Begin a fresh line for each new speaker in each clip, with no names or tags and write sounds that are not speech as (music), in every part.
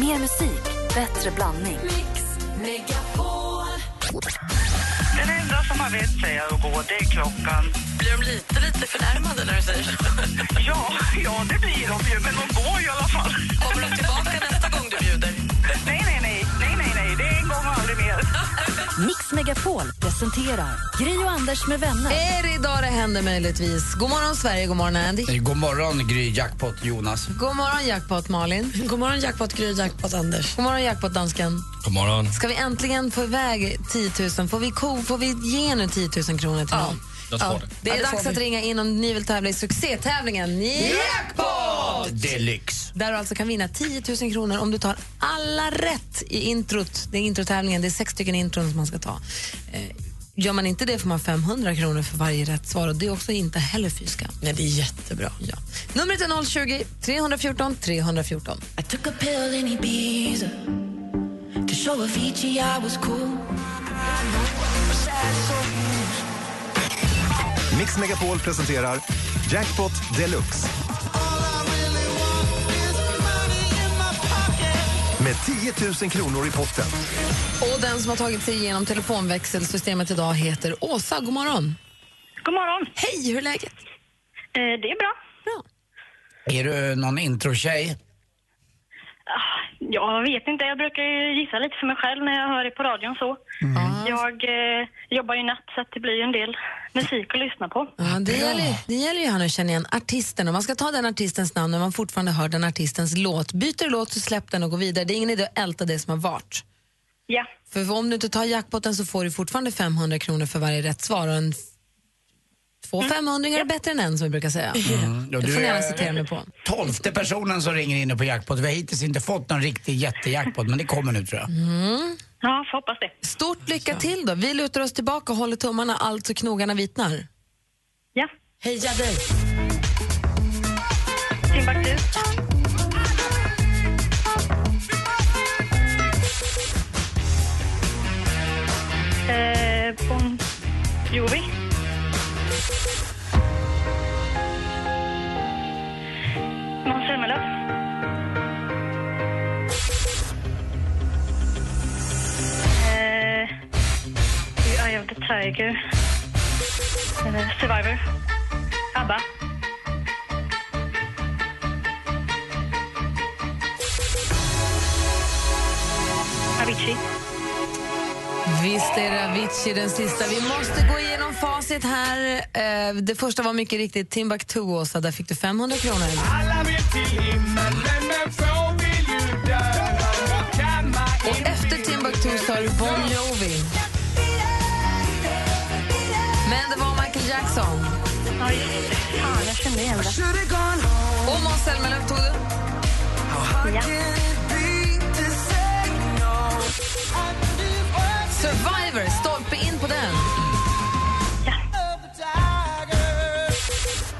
Mer musik, bättre blandning.
Den enda som har vett säger jag att gå, det är klockan.
Blir de lite, lite förnärmade när du säger så?
(laughs) Ja, ja, det blir de ju, men de går ju i alla fall.
Kommer de tillbaka nästa gång du bjuder?
Nej, nej, nej, nej, nej, nej, det är en gång och aldrig mer.
Mix Megapol presenterar Gri och Anders med vänner.
Är det idag det händer möjligtvis? God morgon Sverige, god morgon Andy.
Eh, God morgon, Gry Jackpot Jonas.
God morgon jackpot Malin.
(laughs) God morgon, jackpot Gry, jackpot Anders.
God morgon jackpot dansken.
God morgon.
Ska vi äntligen få iväg 10 000? Får vi, ko, får vi ge nu 10 000 kronor till någon?
Jag tror det.
Det är dags att ringa in om ni vill tävla i succétävlingen Jackpot!
Deluxe.
Där du alltså kan vinna 10 000 kronor om du tar alla rätt i introt. Det är introtävlingen, det är sex stycken intron som man ska ta. Eh, Gör man inte det får man 500 kronor för varje rätt svar och det är också inte heller fy skam.
Nej, det är jättebra.
Ja. Numret är 020 314 314.
I took a pill in Ibiza to show Avicii I was cool.
Mix Megapol presenterar Jackpot Deluxe. Med 10 000 kronor i potten.
Och den som har tagit sig igenom telefonväxelsystemet idag heter Åsa. God morgon.
God morgon.
Hej, hur är läget?
Eh, det är bra.
Bra.
Är du någon introtjej?
Ah, Jag vet inte, jag brukar ju gissa lite för mig själv när jag hör det på radion så. Jag eh, jobbar ju natt så att det blir ju en del musik att lyssna på.
Ja, det, gäller, det gäller ju här nu att känna igen artisten. Och man ska ta den artistens namn när man fortfarande hör den artistens låt. Byter låt så släpp den och gå vidare. Det är ingen idé att älta det som har varit.
Ja,
För om du inte tar jackpotten så får du fortfarande 500 kronor för varje rätt svar. Och en f- två 500 är bättre än en som vi brukar säga.
Mm. Ja,
Det får
du
ni gärna
är
citera mig på.
tolfte personen som ringer in nu på jackpot. Vi har hittills inte fått någon riktig jättejackpot, men det kommer nu tror jag.
Mm,
ja får hoppas det.
Stort lycka till då. Vi lutar oss tillbaka och håller tummarna allt så knogarna vitnar.
Ja,
Heja dig!
Timbuktu. Eh, Bon Jovi. Måns Zelmerlöw. Eh, The Eye of the Tiger. Eh, Survivor. ABBA. Avicii.
Visst är det Avicii den sista. Vi måste gå igenom facit här. Eh, Det första var mycket riktigt Timbuktu, Åsa. Där fick du 500 kronor. Och efter Timbuktu så har du Bon Jovi. Men det var Michael Jackson.
Ja, just det. Fan, jag kände igen det.
Och Måns Zelmerlöw tog du.
Ja.
Survivor, stolpe in på den.
Ja.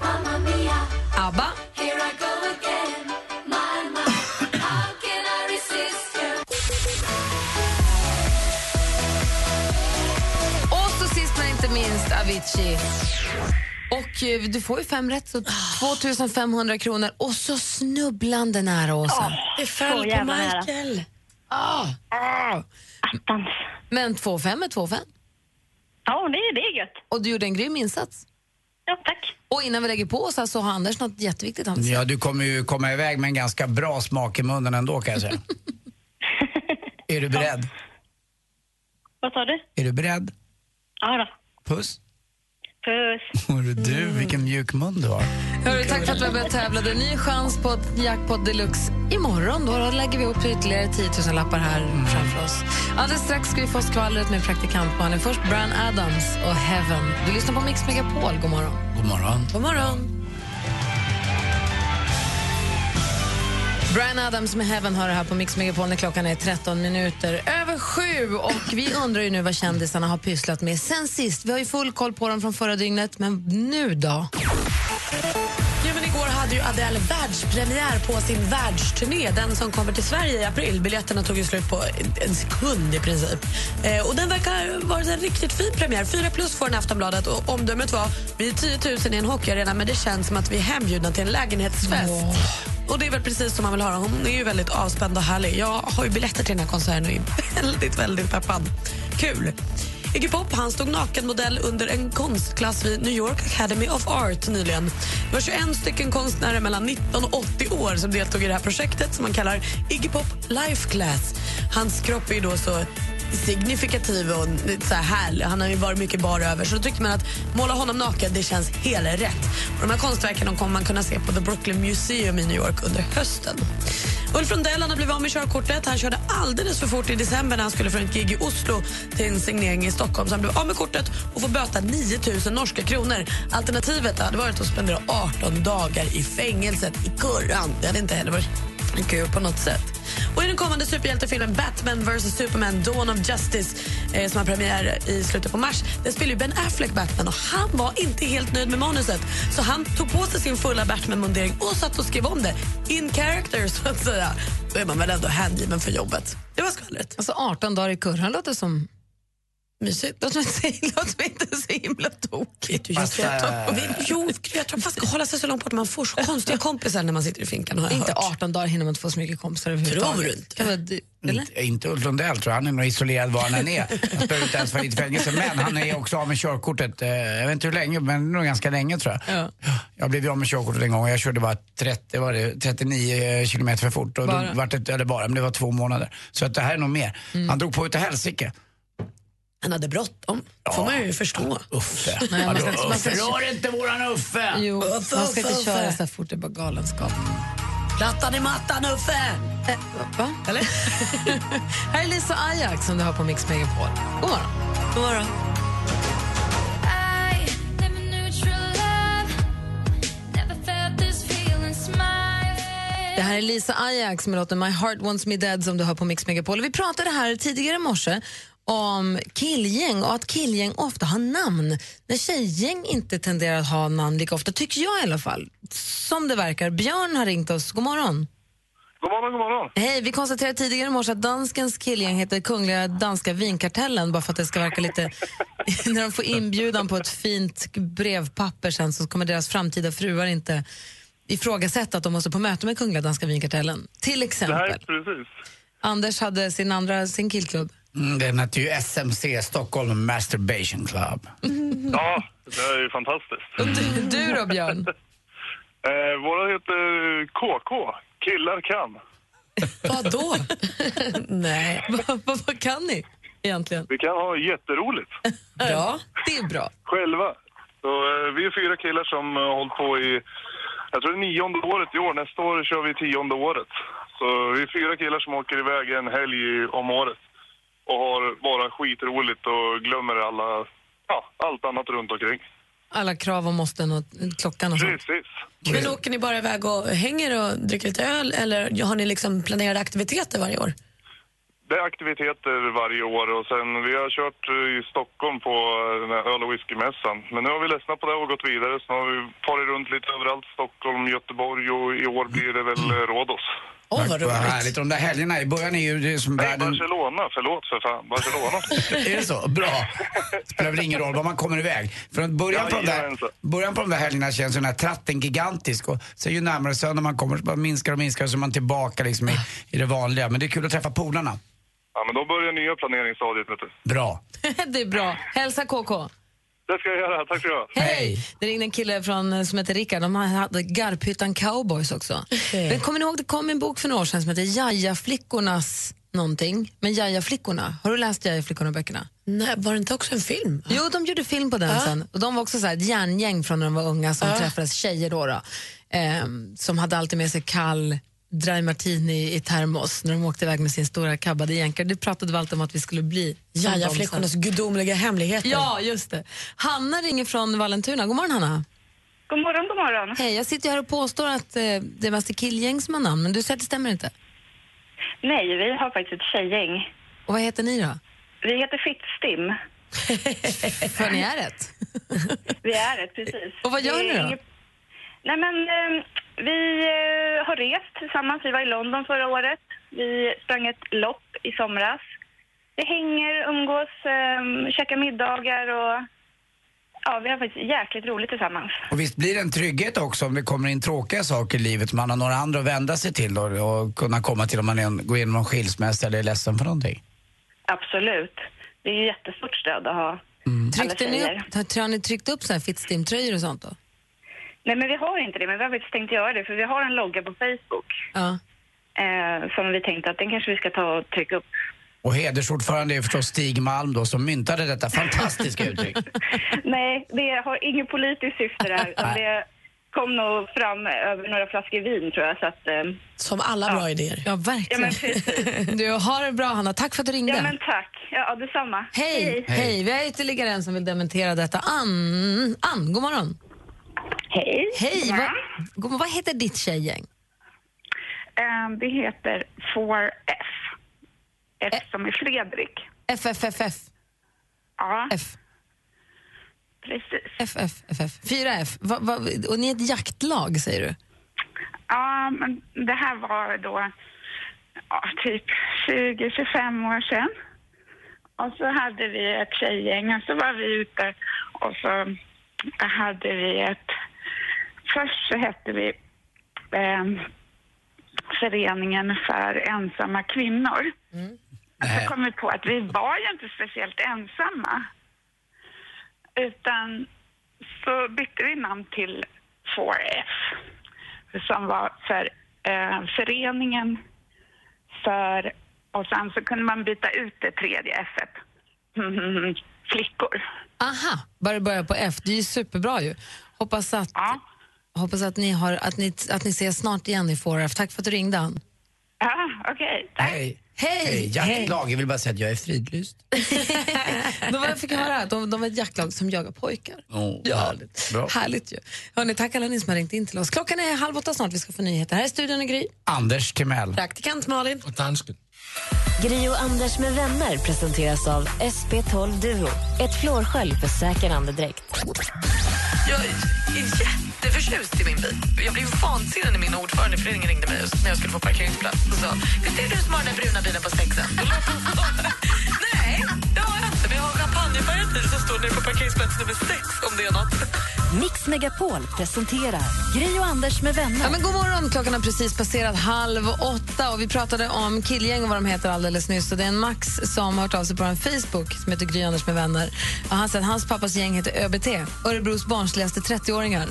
Mamma mia,
ABBA.
here I go again. My, my, how can I resist you?
Och så sist men inte minst Avicii. Och eh, du får ju fem rätt, så 2500 kronor. Och så snubblande nära, Åsa.
Det föll
Så
på
jävla nära.
Michael.
Attans.
Men 2,5 är 2,5.
Ja, det, det är gött.
Och du gjorde en grym insats.
Ja, tack.
Och innan vi lägger på oss här så har Anders något jätteviktigt han vill säga.
Ja, du kommer ju komma iväg med en ganska bra smak i munnen ändå kan jag
(laughs)
säga. är du beredd?
Vad sa du?
Är du beredd?
Ja då.
Puss.
Puss.
Hörru du, vilken mjuk mun du har.
Hörru, tack för att vi har börjat tävla. Det är en ny chans på ett jackpot deluxe imorgon. Då, då lägger vi upp ytterligare 10 000 lappar här
Mm.
framför oss. Alldeles strax ska vi få skvallret med praktikantmannen. Först Brian Adams och Heaven. Du lyssnar på Mix Megapol. God morgon.
God morgon.
God morgon.
Brian Adams med Heaven hör det här på Mix Megapol när klockan är 13 minuter över sju. Och vi undrar ju nu vad kändisarna har pysslat med sen sist. Vi har ju full koll på dem från förra dygnet, men nu då?
Ja, men igår hade ju Adele världspremiär på sin världsturné, den som kommer till Sverige i april. Biljetterna tog ju slut på en- en sekund i princip. Eh, och den verkar ha varit en riktigt fin premiär. Fyra plus får den i Aftonbladet och omdömet var vi är 10 000 i en hockeyarena men det känns som att vi är hembjudna till en lägenhetsfest. Och det är väl precis som man vill höra. Hon är ju väldigt avspänd och härlig. Jag har ju biljetter till den här konserten och är (laughs) väldigt, väldigt peppad. Kul! Iggy Pop han stod nakenmodell under en konstklass vid New York Academy of Art nyligen. Det var 21 stycken konstnärer mellan 19 och 80 år som deltog i det här projektet som man kallar Iggy Pop Life Class. Hans kropp är ju då så signifikativ och lite så här härlig. Han har ju varit mycket bar över. Så då tyckte man att måla honom naken, det känns helt rätt. Och de här konstverken de kommer man kunna se på The Brooklyn Museum i New York under hösten. Ulf Lundell han har blivit av med körkortet. Han körde alldeles för fort i december när han skulle från ett gig i Oslo till en signering i Stockholm. Så han blev av med kortet och får böta 9 000 norska kronor. Alternativet hade varit att spendera 18 dagar i fängelset i kurran. Det hade inte heller varit kul på något sätt. Och i den kommande superhjältefilmen Batman vs Superman Dawn of Justice eh, som har premiär i slutet på mars, där spelar ju Ben Affleck Batman och han var inte helt nöjd med manuset så han tog på sig sin fulla Batman-mundering och satt och skrev om det in character så att säga. Då är man väl ändå hängiven för jobbet. Det var skvallret.
Alltså 18 dagar i kurran låter som...
Mysigt.
Låter som
(laughs)
låter mig inte så himla tokigt.
Du, jag, ska, jag, vi, jo, jag tror man ska hålla sig så långt bort man får (laughs) så konstiga kompisar när man sitter i finkan har jag
Inte
hört.
18 dagar hinner man inte få så mycket kompisar överhuvudtaget.
Tror du inte?
Kan
Mm.
vara dy- eller?
Inte- Inte Ulf Lundell tror jag, han är nog isolerad var han än är. Han behöver inte ens vara i ett fängelse. Men han är också av med körkortet, eh, jag vet inte hur länge, men nog ganska länge tror jag.
Ja.
Jag blev ju av med körkortet en gång och jag körde bara 30, var det, 39 kilometer för fort. Och
Bara? Mm.
Då var det, eller bara, men det var två månader. Så att det här är nog mer. Han drog på utav helsike.
Han hade bråttom. får man ju förstå.
Uffe.
Nej, man
Vadå,
ska inte- man ska-
Uffe, rör inte våran Uffe!
Jo, man
Uffe,
ska inte
Uffe,
köra
Uffe.
så här fort, det är bara galenskap.
Plattan i mattan, Uffe!
Eh, va?
Eller?
(laughs) Här är Lisa Ajax som du har på Mix Megapol. God morgon.
God morgon.
I never knew true love. Never felt this feeling
Det
smile.
här är Lisa Ajax med låten My Heart Wants Me Dead som du hör på Mix Megapol. Vi pratade här tidigare i morse om killgäng och att killgäng ofta har namn när tjejgäng inte tenderar att ha namn lika ofta, tycker jag i alla fall. Som det verkar. Björn har ringt oss. God morgon.
God morgon, god morgon.
Hej, vi konstaterade tidigare i morse att danskens killgäng heter Kungliga Danska Vinkartellen bara för att det ska verka lite... (laughs) när de får inbjudan på ett fint brevpapper sen så kommer deras framtida fruar inte ifrågasätta att de måste på möte med Kungliga Danska Vinkartellen. Till
Det här är
exempel.
precis.
Anders hade sin andra, sin killklubb.
Mm, den hette ju SMC, Stockholm Masturbation Club.
Ja, det här är ju fantastiskt.
Och du, du då, Björn?
Eh, våra heter KK, Killar kan.
(laughs) Vadå? (laughs) Nej.
Vad- vad- Vad kan ni egentligen?
Vi kan ha jätteroligt
Bra.
Det är bra.
själva. Så, eh, vi är fyra killar som eh, har hållit på i, jag tror det är nionde året i år. Nästa år kör vi tionde året. Så vi är fyra killar som åker iväg en helg i- om året och har bara skitroligt och glömmer alla, ja, allt annat runt omkring.
Alla krav och måsten och klockan och sånt.
Precis.
Men åker ni bara iväg och hänger och dricker lite öl eller har ni liksom planerade aktiviteter varje år?
Det är aktiviteter varje år och sen vi har kört eh, i Stockholm på eh, den här öl och whiskymässan. Men nu har vi ledsnat på det och gått vidare så nu har vi farit runt lite överallt. Stockholm, Göteborg och i år blir det väl eh, Rhodos.
Åh, vad roligt.
härligt. De där helgerna, i början är ju det som
Nej,
världen...
Barcelona. Förlåt för fan. Barcelona.
Är det så? Bra. Spelar väl ingen roll var man kommer iväg. Från början, på de där,
Jajamensan.
början på de där helgerna känns den här tratten gigantisk och sen ju närmare söndag man kommer så bara minskar och minskar och så är man tillbaka liksom i, i det vanliga. Men det är kul att träffa polarna.
ja, men då börjar nya planeringsstadiet vet du.
Bra.
(laughs) det är bra. Hälsa KK.
Det ska jag göra. Tack ska du ha.
Hej!
Hej.
Det ringde en kille från, eh, som heter Rickard. De hade Garphyttan Cowboys också.
Okej.
Men kommer ni ihåg, det kom en bok för några år sedan som heter Jaja-flickornas någonting. Men Jaja-flickorna, har du läst Jaja-flickorna-böckerna?
Nej, var det inte också en film?
Jo, de gjorde film på den sen. Och de var också så här ett järngäng från när de var unga som träffades, tjejer då, då ehm, som hade alltid med sig kall dry martini i termos när de åkte iväg med sin stora kabbade jänkare. Det pratade vi alltid om att vi skulle bli. som
Ja, ja,
dem sen.
flickornas gudomliga hemligheter.
Ja, just det. Hanna ringer från Vallentuna. God morgon Hanna.
God morgon, god morgon.
Hej, jag sitter ju här och påstår att eh, det är mest är killgäng som har namn, men du säger att det stämmer inte.
Nej, vi har faktiskt ett tjejgäng.
Och vad heter ni då?
Vi heter Fittstim.
För ni är ett.
Vi är det, precis.
Och vad gör
Det är
ni då?
inget- Nej, men eh, vi eh, har rest tillsammans. Vi var i London förra året. Vi sprang ett lopp i somras. Vi hänger, umgås, eh, käkar middagar ehm, och Ja, vi har faktiskt jäkligt roligt tillsammans.
Och visst blir det en trygghet också om det kommer in tråkiga saker i livet, man har några andra att vända sig till då, och kunna komma till om man är en, går igenom någon skilsmässa eller är ledsen för någonting.
Absolut. Det är ju jättestort stöd att ha
Mm. Tryckte
alla
ni
tjejer.
upp, har- har ni tryckt upp så här Fittstim-tröjor och sånt då?
Nej, men vi har inte det, men vi har faktiskt tänkt göra det för vi har en logga på Facebook
Ja.
eh, som vi tänkte att den kanske vi ska ta och
(laughs)
trycka upp.
Och hedersordförande är förstås Stig Malm då som myntade detta fantastiska
(laughs)
uttryck.
Nej, det har inget politiskt syfte det här. utan Det kom nog fram över några flaskor vin tror jag. Så att, eh,
Som alla bra idéer.
Ja,
ja,
(laughs) verkligen.
men precis.
Du, har det bra Hanna. Tack för att du ringde.
Ja, men tack. Ja, detsamma.
Hej, hej. Vi har ytterligare en som vill dementera detta. Ann, Ann god morgon.
Hej.
Hej,
Ja.
vad, god, morgon. vad heter ditt tjejgäng?
Ehm, Det heter 4F. F
Eh.
som är Fredrik.
FFFF.
Ja,
F.
precis.
FFFF. 4F. Va, va, och ni är ett jaktlag, säger du?
Ja, men det här var då ja, typ 20-25 år sedan. Och så hade vi ett tjejgäng och så var vi ute och så hade vi ett... Först så hette vi ehm, Föreningen för ensamma kvinnor. Och så kom vi på att vi var ju inte speciellt ensamma. Utan så bytte vi namn till 4F som var för eh, föreningen för... Och sen så kunde man byta ut det tredje F. (laughs) Flickor.
Aha, bara det börjar på F. Det är ju superbra ju. Hoppas att,
Ja.
hoppas att, ni, har, att, ni, att ni ses snart igen i 4F. Tack för att du ringde, Ann.
Ja, okej. Tack.
Hej!
Hej!
Hej! Jaktlag, jag vill bara säga att jag är fridlyst.
Då var jag fick höra att de, de var ett jaktlag som jagar pojkar.
Åh, härligt.
ja, härligt.
Bra.
härligt ju. Hörrni, tack alla ni som har ringt in till oss. Klockan är halv åtta snart, vi ska få nyheter. Här är studion i Gry.
Anders Timell.
Praktikant Malin.
Gri och Anders med vänner presenteras av SP12 Duo. Ett flårskölj för säker andedräkt.
Jag är jätteförtjust i min bil. Jag blev vansinnig när min ordförande i föreningen ringde mig just när jag skulle få parkeringsplats och sa Visst är det du som har den där bruna bilen på (laughs) sexen? Då låg hon så här, Nej, det har jag inte. Men jag har en champagnefärgad bil som står nere på parkeringsplats nummer sex om det är något.
Mix Megapol presenterar Gri och Anders med vänner.
Ja, men god morgon, klockan har precis passerat halv åtta och vi pratade om killgäng och vad de heter alldeles nyss. Och det är en Max som har hört av sig på en Facebook som heter Gry Anders med vänner. Och han säger att hans pappas gäng heter ÖBT, Örebros barnsligaste 30-åringar.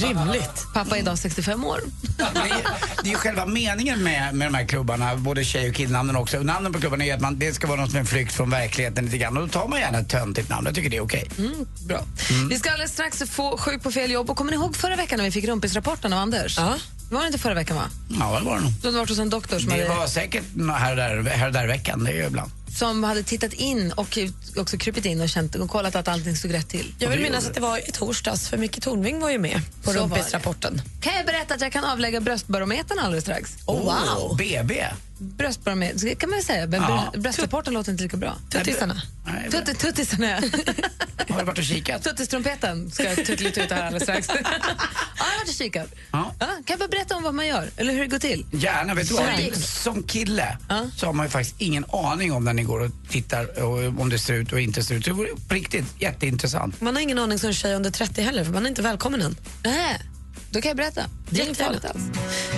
Rimligt. Pappa är idag 65 år.
Det är- det är ju själva meningen med, med de här klubbarna, både tjej och killnamnen också. Namnen på klubbarna är att man, det ska vara något som är en flykt från verkligheten lite grann. Och då tar man gärna ett töntigt namn. Jag tycker det är okej.
Mm. Bra. Vi ska alldeles strax få sjuk på fel jobb. Och kommer ni ihåg förra veckan när vi fick rumpisrapporten av Anders? Ja. Det var inte förra veckan, va?
Ja, det var det nog.
Du hade varit hos en doktor som,
Det
hade,
var säkert här och där, här och där veckan, det är ju ibland.
som hade tittat in och ut- också krupit in och, känt, och kollat att allting stod rätt till.
Jag vill minnas att det var i torsdags, för Micke Tornving var ju med på
Så var det.
rumpisrapporten.
Kan jag berätta att jag kan avlägga bröstbarometern alldeles strax?
Oh, BB.
Bröstbarometern, det kan man ju säga. Men
Ja.
brö- bröstrapporten låter inte lika bra.
Tuttisarna.
Nej,
Tutti, tuttisarna, ja.
(laughs) Har du varit och kikat?
Tuttistrumpeten ska jag tuttlituta här
(laughs)
alldeles strax. ja, jag har varit och kikat.
Ja.
Ja, kan jag bara berätta om vad man gör, eller hur det går till?
Gärna, vet du vad?
Nej.
Som kille
Ja.
så har man ju faktiskt ingen aning om när ni går och tittar och om det ser ut och inte ser ut. Så Det vore på riktigt jätteintressant.
Man har ingen aning som tjej under 30 heller, för man är inte välkommen än.
Nej, Äh, då kan jag berätta.
Det är
Jättefarligt
inte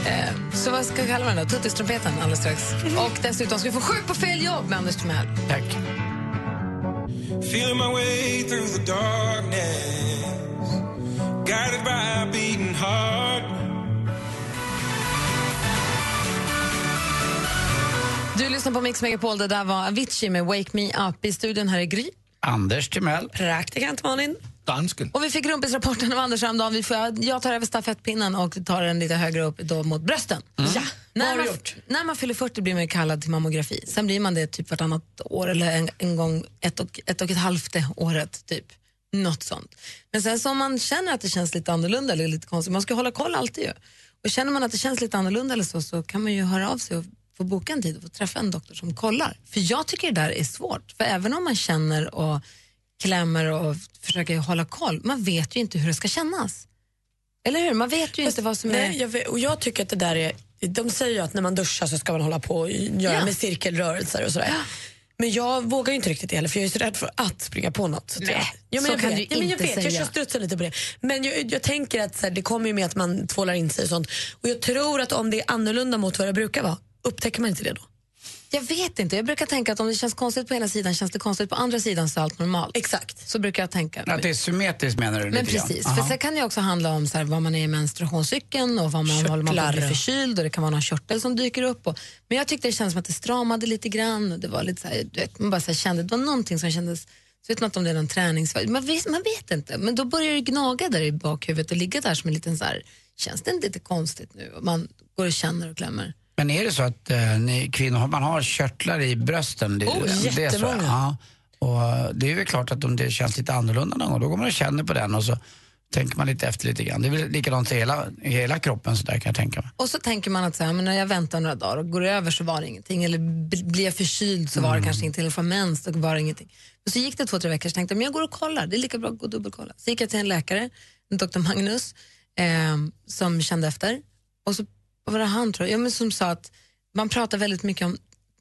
alls. Eh, så vad ska jag kalla den då? Tuttistrumpeten alldeles strax.
Mm.
Och dessutom ska vi få sjuk på fel jobb med Anders Timell.
Tack.
Feeling my way through the darkness, guided by a beating heart.
Du lyssnar på Mix Megapol. Det där var Avicii med Wake Me Up. I studion här är Gry.
Anders Timell.
Praktikant Malin.
Dansken.
Och vi fick rumpisrapporten av Anders häromdagen. Vi får, jag- jag tar över stafettpinnen och tar den lite högre upp då mot brösten. Ja, när, man, när man fyller 40 blir man ju kallad till mammografi. Sen blir man det typ vartannat år eller en, en gång ett och, ett och ett halvt året. typ. Något sånt. Men sen så om man känner att det känns lite annorlunda eller lite konstigt, man ska ju hålla koll alltid ju. Och känner man att det känns lite annorlunda eller så, så kan man ju höra av sig och få boka en tid och få träffa en doktor som kollar. För jag tycker det där är svårt. För även om man känner och klämmer och försöker hålla koll. Man vet ju inte hur det ska kännas. Eller hur? Man vet ju inte vad som
Nej,
är...
jag, vet- och jag tycker att det där är... De säger ju att när man duschar så ska man hålla på och göra
Ja.
med cirkelrörelser och sådär. Men jag vågar ju inte riktigt det heller för jag är så rädd för att springa på något. tror jag.
Nej,
ja, men
så
jag
kan
vet.
du
ja, men jag
inte
vet. Jag
säga.
kör strutsen lite på det. Men jag, jag tänker att så här, det kommer ju med att man tvålar in sig och sånt. Och jag tror att om det är annorlunda mot vad det brukar vara, upptäcker man inte det då?
Jag vet inte. Jag brukar tänka att om det känns konstigt på ena sidan känns det konstigt på andra sidan så är allt normalt.
Exakt.
Så brukar jag tänka.
Att det är symmetriskt menar du?
Men
lite grann?
precis,
Aha.
för sen kan det ju också handla om så här, vad man är i menstruationscykeln och vad man håller man på att bli
Körtlar.
förkyld och det kan vara någon körtel som dyker upp. Och, men jag tyckte det kändes som att det stramade lite grann och det var lite så här, du vet, man bara så här, kände, det var någonting som kändes, så vet man inte om det är någon träningsvärk, man, vis- man vet inte. Men då börjar det gnaga där i bakhuvudet och ligga där som en liten så här, känns det inte lite konstigt nu? Och man går och känner och glömmer.
Men är det så att eh, ni kvinnor, man har körtlar i brösten? Det,
Oh,
det är så,
jättemånga.
ja. Och eh, det är väl klart att om det känns lite annorlunda någon gång, då går man och känner på den och så tänker man lite efter lite grann. Det är väl likadant i hela, i hela kroppen så där kan jag tänka mig.
Och så tänker man att så här, men när jag väntar några dagar och går det över så var det ingenting. Eller b- blir jag förkyld så var det
Mm.
kanske ingenting. Eller får jag mens så var det ingenting. Men så gick det två, tre veckor så tänkte jag men jag går och kollar. Det är lika bra att gå och dubbelkolla. Så gick jag till en läkare, en doktor Magnus, eh, som kände efter. Och så vad var det han tror jag, ja, men som sa att man pratar väldigt mycket om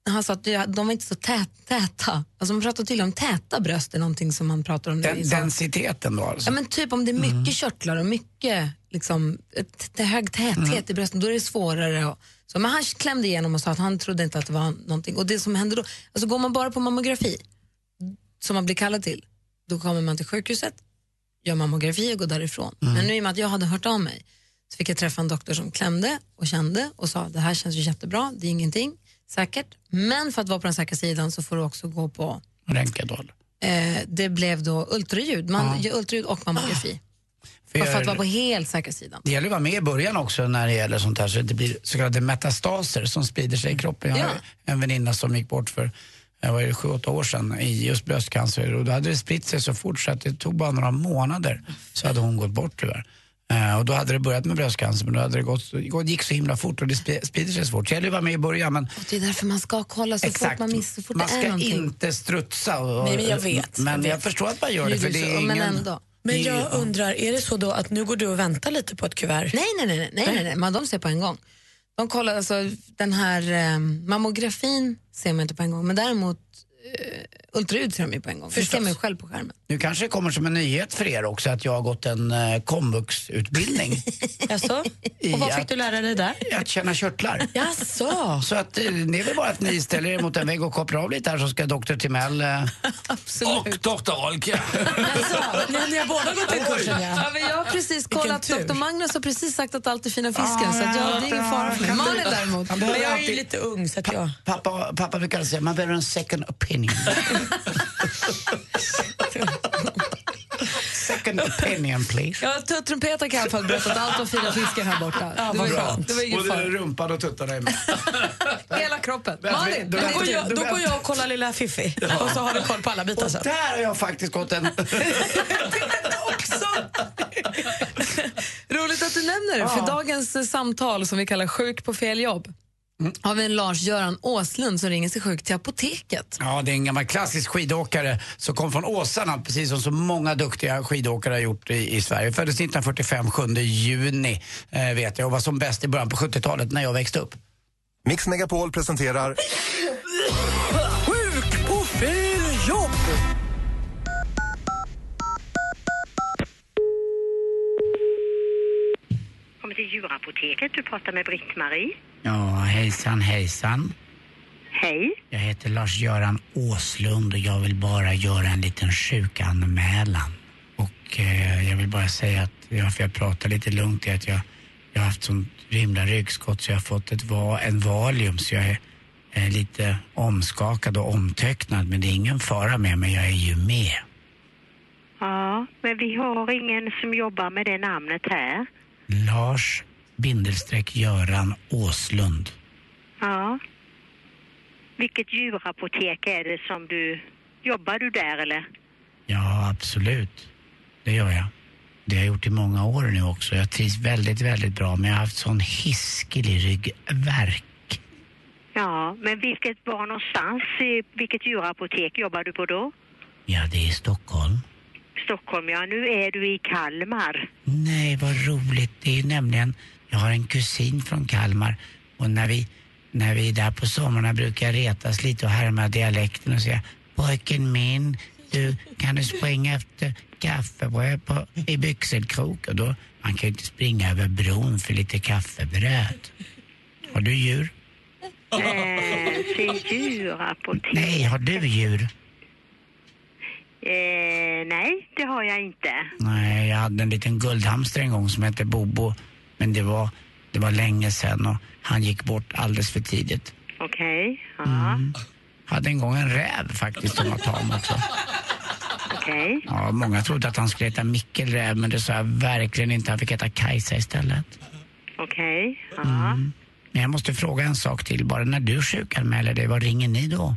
han sa att det- de var inte så tät, täta. Alltså man pratar tydligen om täta bröst, är någonting som man pratar om. nu i
Den,
sån-
densiteten då alltså.
Ja, men typ om det är mycket körtlar och mycket liksom, ett, ett hög täthet i brösten, då är det svårare. Och, så, men han klämde igenom och sa att han trodde inte att det var någonting. Och det som hände då, alltså går man bara på mammografi, som man blir kallad till, då kommer man till sjukhuset, gör mammografi och går därifrån. Men nu i och med att jag hade hört av mig så fick jag träffa en doktor som klämde och kände och sa det här känns ju jättebra, det är ingenting säkert. Men för att vara på den säkra sidan så får du också gå på,
Röntgendoll.
eh, det blev då ultraljud, man gör ultraljud och mammografi.
För
Bara för att
jag-
vara på helt säkra sidan.
Det gäller att vara med i början också när det gäller sånt här så det blir så kallade metastaser som sprider sig i kroppen. Jag har en väninna som gick bort för eh, vad är det, sju, åtta år sedan i just bröstcancer och då hade det spritt sig så fort så att det tog bara några månader så hade hon gått bort tyvärr. Eh, Och då hade det börjat med bröstcancer men då hade det gått, så- det gick så himla fort och det sp- sprider sig så fort. Så det gäller att vara med i början men
Och det är därför man ska kolla så fort
exakt,
man missar, så fort
man
det är
ska
någonting.
inte strutsa. Och,
Nej, men jag vet,
Men
jag
jag,
vet.
förstår att man gör
Nu
det
är
för
du
det är
så,
ingen...
men ändå.
det
Men
är-
jag undrar, är det så då att nu går du och väntar lite på ett kuvert?
Nej, nej, nej, nej, nej, nej, nej. Man, de ser på en gång. De kollar, alltså den här eh, mammografin ser man inte på en gång, men däremot eh, ultraljud ser de ju på en gång. Förstås. Det ser man ju själv på skärmen.
Nu kanske det kommer som en nyhet för er också att jag har gått en eh, komvuxutbildning
(laughs)
Jaså?
i
(laughs) Och vad fick
att,
du lära dig där?
att känna körtlar.
Jaså?
Så att, eh, det är väl bara att ni ställer er mot en vägg och kopplar av lite här så ska doktor Timell eh, och doktor Olke.
Jaså? Ni ni har båda gått den kursen ja.
Ja, men jag har precis kollat,
tur. Ah,
doktor Magnus har precis sagt att allt är fina fisken, så att jag, det är ingen fara för mig.
Kan du-
Malin däremot.
Han
Men
behöver
jag är ju
alltid,
lite ung så att jag...
pappa, pappa brukar säga man behöver en second opinion.
(laughs)
second opinion please.
Ja, t- trumpeten kan i alla fall berätta att allt var fina fisken här borta. det, var,
Bra.
det var ingen
Både
fara.
rumpan och tuttarna är med.
Hela kroppen.
Vänta,
Malin,
då-
du
Då
går
går
vänta.
jag...
jag, då går jag och kollar Lilla Fiffi och så har du koll på alla bitar
Och
sen.
där har jag faktiskt gått en...
(laughs) Roligt att du nämner det, för dagens eh, samtal som vi kallar Sjuk på fel jobb
Mm.
har vi en Lars-Göran Åslund som ringer sig sjuk till apoteket.
Ja, det är en gammal klassisk skidåkare som kom från Åsarna, precis som så många duktiga skidåkare har gjort i, i Sverige. Föddes 1945, 7 juni, eh, vet jag, och var som bäst i början på 70-talet när jag växte upp.
Mix Megapol presenterar
Kommer till djurapoteket. Du pratar med Britt-Marie.
Ja, hejsan hejsan.
Hej.
Jag heter Lars-Göran Åslund och jag vill bara göra en liten sjukanmälan. Och eh, jag vill bara säga att, ja, för jag pratar lite lugnt, är att jag, jag har haft sånt himla ryggskott så jag har fått ett, va- en valium så jag är, är lite omskakad och omtöcknad men det är ingen fara med mig, jag är ju med.
Ja, men vi har ingen som jobbar med det namnet här.
Lars bindelstreck Göran Åslund.
Ja. Vilket djurapotek är det som du... Jobbar du där eller?
Ja, absolut. Det gör jag. Det har jag gjort i många år nu också. Jag trivs väldigt, väldigt bra. Men jag har haft sån hiskelig ryggvärk.
Ja, men vilket var någonstans? I vilket djurapotek jobbar du på då?
Ja, det är i Stockholm.
Stockholm, ja. Nu är du i Kalmar.
Nej, vad roligt. Det är nämligen... Jag har en kusin från Kalmar och när vi när vi är där på sommarna brukar jag retas lite och härma dialekten och säga pojken min, du, kan du springa efter kaffebröd på, i byxelkrok? Och då, man kan ju inte springa över bron för lite kaffebröd. Har du djur?
Eh, det är djurapotek.
Nej, har du djur?
Eh, nej, det har jag inte.
Nej, jag hade en liten guldhamster en gång som hette Bobo. Men det var, det var länge sedan och han gick bort alldeles för tidigt.
Okej, ja.
Hade en gång en räv faktiskt som var tam också.
Okej.
Ja, många trodde att han skulle heta Mikkel Räv men det sa jag verkligen inte. Han fick heta Kajsa istället.
Okej, ja.
Men jag måste fråga en sak till bara. När du sjukanmäler dig, vad ringer ni då?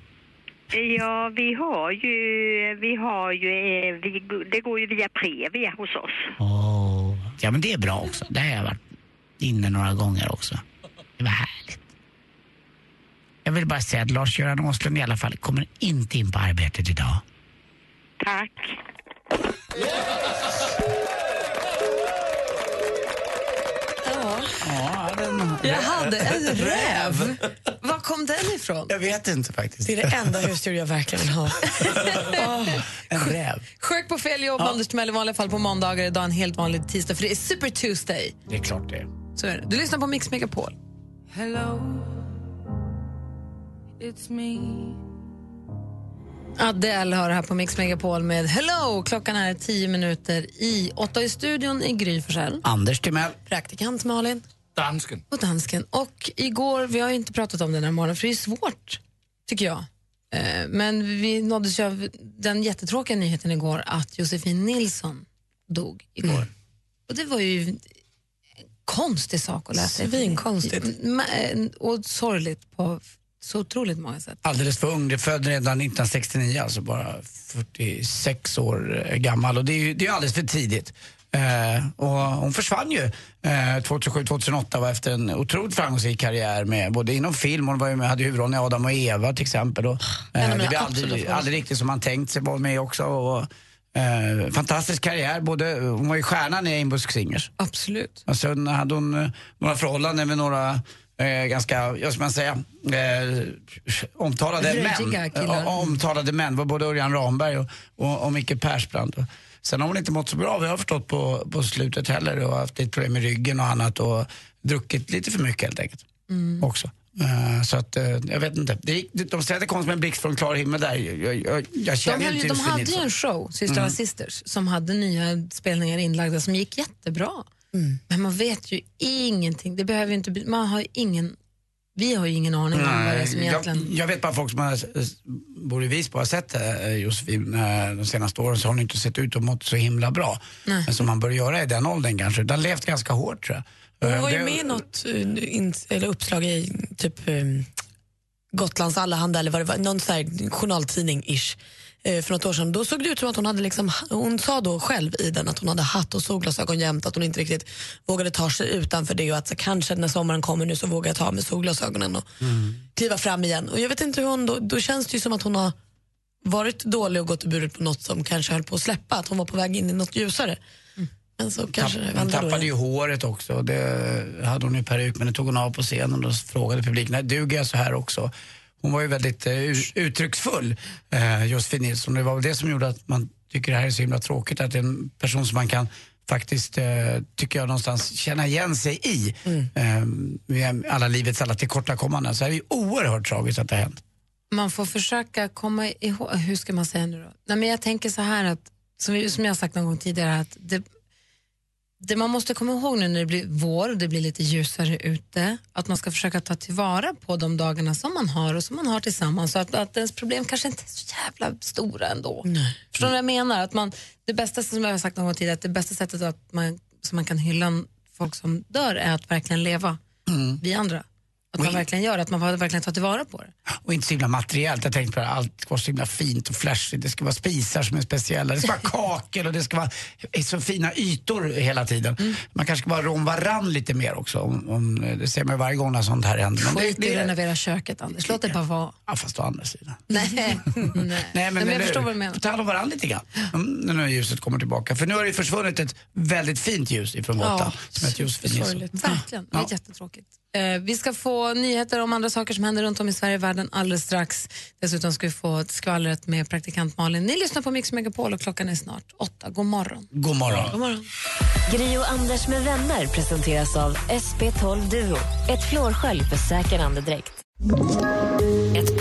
Ja, vi har ju, vi har ju, eh, vi, det går ju via Previa hos oss.
Åh. Ja, men det är bra också. Där har jag varit inne några gånger också. Det var härligt. Jag vill bara säga att Lars-Göran Åslund i alla fall kommer inte in på arbetet idag.
Tack.
Ja, den...
Jag hade
(laughs)
en räv. Var kom den ifrån?
Jag vet inte faktiskt.
Det är det enda husdjur jag verkligen vill ha.
En räv.
Sjuk på fel jobb, Anders Timell i vanliga fall på måndagar. Idag en helt vanlig tisdag, för det är Super Tuesday.
Det är klart det är.
Så är det. Du lyssnar på Mix Megapol.
Hello, it's me.
Adele hör här på Mix Megapol med Hello! Klockan är tio minuter i åtta. I studion i Gry Forssell.
Anders Timell.
Praktikant Malin.
Dansken.
Och dansken. Och igår, vi har ju inte pratat om den här morgonen för det är svårt, tycker jag. Eh, Men vi nåddes ju av den jättetråkiga nyheten igår att Josefin Nilsson dog igår. Och det var ju en konstig sak att läsa.
Svinkonstigt.
Mm, ma- Och sorgligt på så otroligt många sätt.
Alldeles för ung. Det född redan 1969, alltså bara 46 år eh, gammal. Och det är ju det är ju alldeles för tidigt. Eh, och hon försvann ju eh, 2007-2008 var efter en otroligt framgångsrik karriär med både inom film, hon var ju med, hade huvudrollen i Adam och Eva till exempel. Och, eh,
mina
det blev
absoluta
aldrig,
favoriter.
aldrig riktigt som man tänkt sig, var med också. Och, eh, fantastisk karriär, både, hon var ju stjärnan i Inbusk Singers.
Absolut.
Och sen hade hon eh, några förhållanden med några eh, ganska, jag ska man säga, eh, omtalade
Röjiga
män.
killar.
Eh, o- omtalade män. Det var både Örjan Ramberg och, och, och Micke Persbrandt. Sen har hon inte mått så bra, vi har förstått på, på slutet heller och haft lite problem med ryggen och annat och druckit lite för mycket helt enkelt.
Mm.
Också. Eh, Så att, eh, jag vet inte. Det gick, de säger att det kom som en blixt från klar himmel där. Jag, jag, jag känner
De, höll,
inte
ju- de
Josefin
hade ju
Nilsson.
en show, Systrarna
Mm.
Sisters, som hade nya spelningar inlagda som gick jättebra.
Mm.
Men man vet ju ingenting. Det behöver ju inte, bli- man har ju ingen, vi har ju ingen aning om vad det är som
Nej,
egentligen...
Jag, jag vet bara folk som har, bor i Visby har sett eh, Josefin eh, de senaste åren så har hon inte sett ut och mått så himla bra.
Nej.
Men som man bör göra i den åldern kanske. Den har levt ganska hårt tror jag.
Hon var
Eh,
ju
det-
med i något eh, in, eller uppslag i typ eh, Gotlands Allehanda eller vad det var, någon sån här journaltidning-ish eh, för något år sedan. Då såg det ut som att hon hade liksom, hon sa då själv i den att hon hade hatt och solglasögon jämt, att hon inte riktigt vågade ta sig utanför det och att så, kanske när sommaren kommer nu så vågar jag ta av mig solglasögonen och
Mm.
kliva fram igen. Och jag vet inte hur hon, då, då känns det ju som att hon har varit dålig och gått i buret på något som kanske höll på att släppa, att hon var på väg in i något ljusare.
Mm.
Men så kanske det
Hon
vände då
tappade
igen.
ju håret också. och Det hade hon ju peruk, men det tog hon av på scenen och frågade publiken, "Nej, duger jag så här också? Hon var ju väldigt eh, ut- uttrycksfull, eh, Josefin Nilsson. Det var väl det som gjorde att man tycker det här är så himla tråkigt, att det är en person som man kan faktiskt, eh, tycker jag någonstans, känna igen sig i.
Mm.
Eh, med alla livets alla tillkortakommanden. Så det är ju oerhört tragiskt att det har hänt.
Man får försöka komma ihåg, hur ska man säga nu då? Nej, men jag tänker så här att, som, vi, som jag har sagt någon gång tidigare, att det, det man måste komma ihåg nu när det blir vår och det blir lite ljusare ute, att man ska försöka ta tillvara på de dagarna som man har och som man har tillsammans. Så att, att ens problem kanske inte är så jävla stora ändå. Förstår du vad jag menar? Att man, det bästa som jag har sagt någon gång tidigare, att det bästa sättet att man, som man kan hylla folk som dör är att verkligen leva, vi andra. Att man verkligen gör det, att man verkligen tar tillvara på det.
Och inte så himla materiellt. Jag tänkte på det, här, allt ska vara så himla fint och flashigt. Det ska vara spisar som är speciella. Det ska vara
(laughs)
kakel och det ska vara så fina ytor hela tiden.
Mm.
Man kanske ska vara om varann lite mer också. Om, om, det ser man ju varje gång när sånt här händer. Men
Skit i att renovera köket, Anders. Låt det bara vara.
Ja, fast å andra sidan.
(laughs) Nej, nej.
Nej, men,
men jag
eller
förstår
hur?
vad du menar.
Ta hand om varandra lite grann. Mm, när nu ljuset kommer tillbaka. För nu har det ju försvunnit ett väldigt fint ljus ifrån Gotland. som heter Josefin Nilsson.
Verkligen, det är jättetråkigt. Eh, vi ska få få nyheter om andra saker som händer runt om i Sverige och världen alldeles strax. Dessutom ska vi få skvallret med praktikant Malin. Ni lyssnar på Mix Megapol och klockan är snart åtta. God morgon.
God morgon.
God morgon.
Gri och Anders med vänner presenteras av SP12 Duo. Ett flårskölj för säker andedräkt. Ett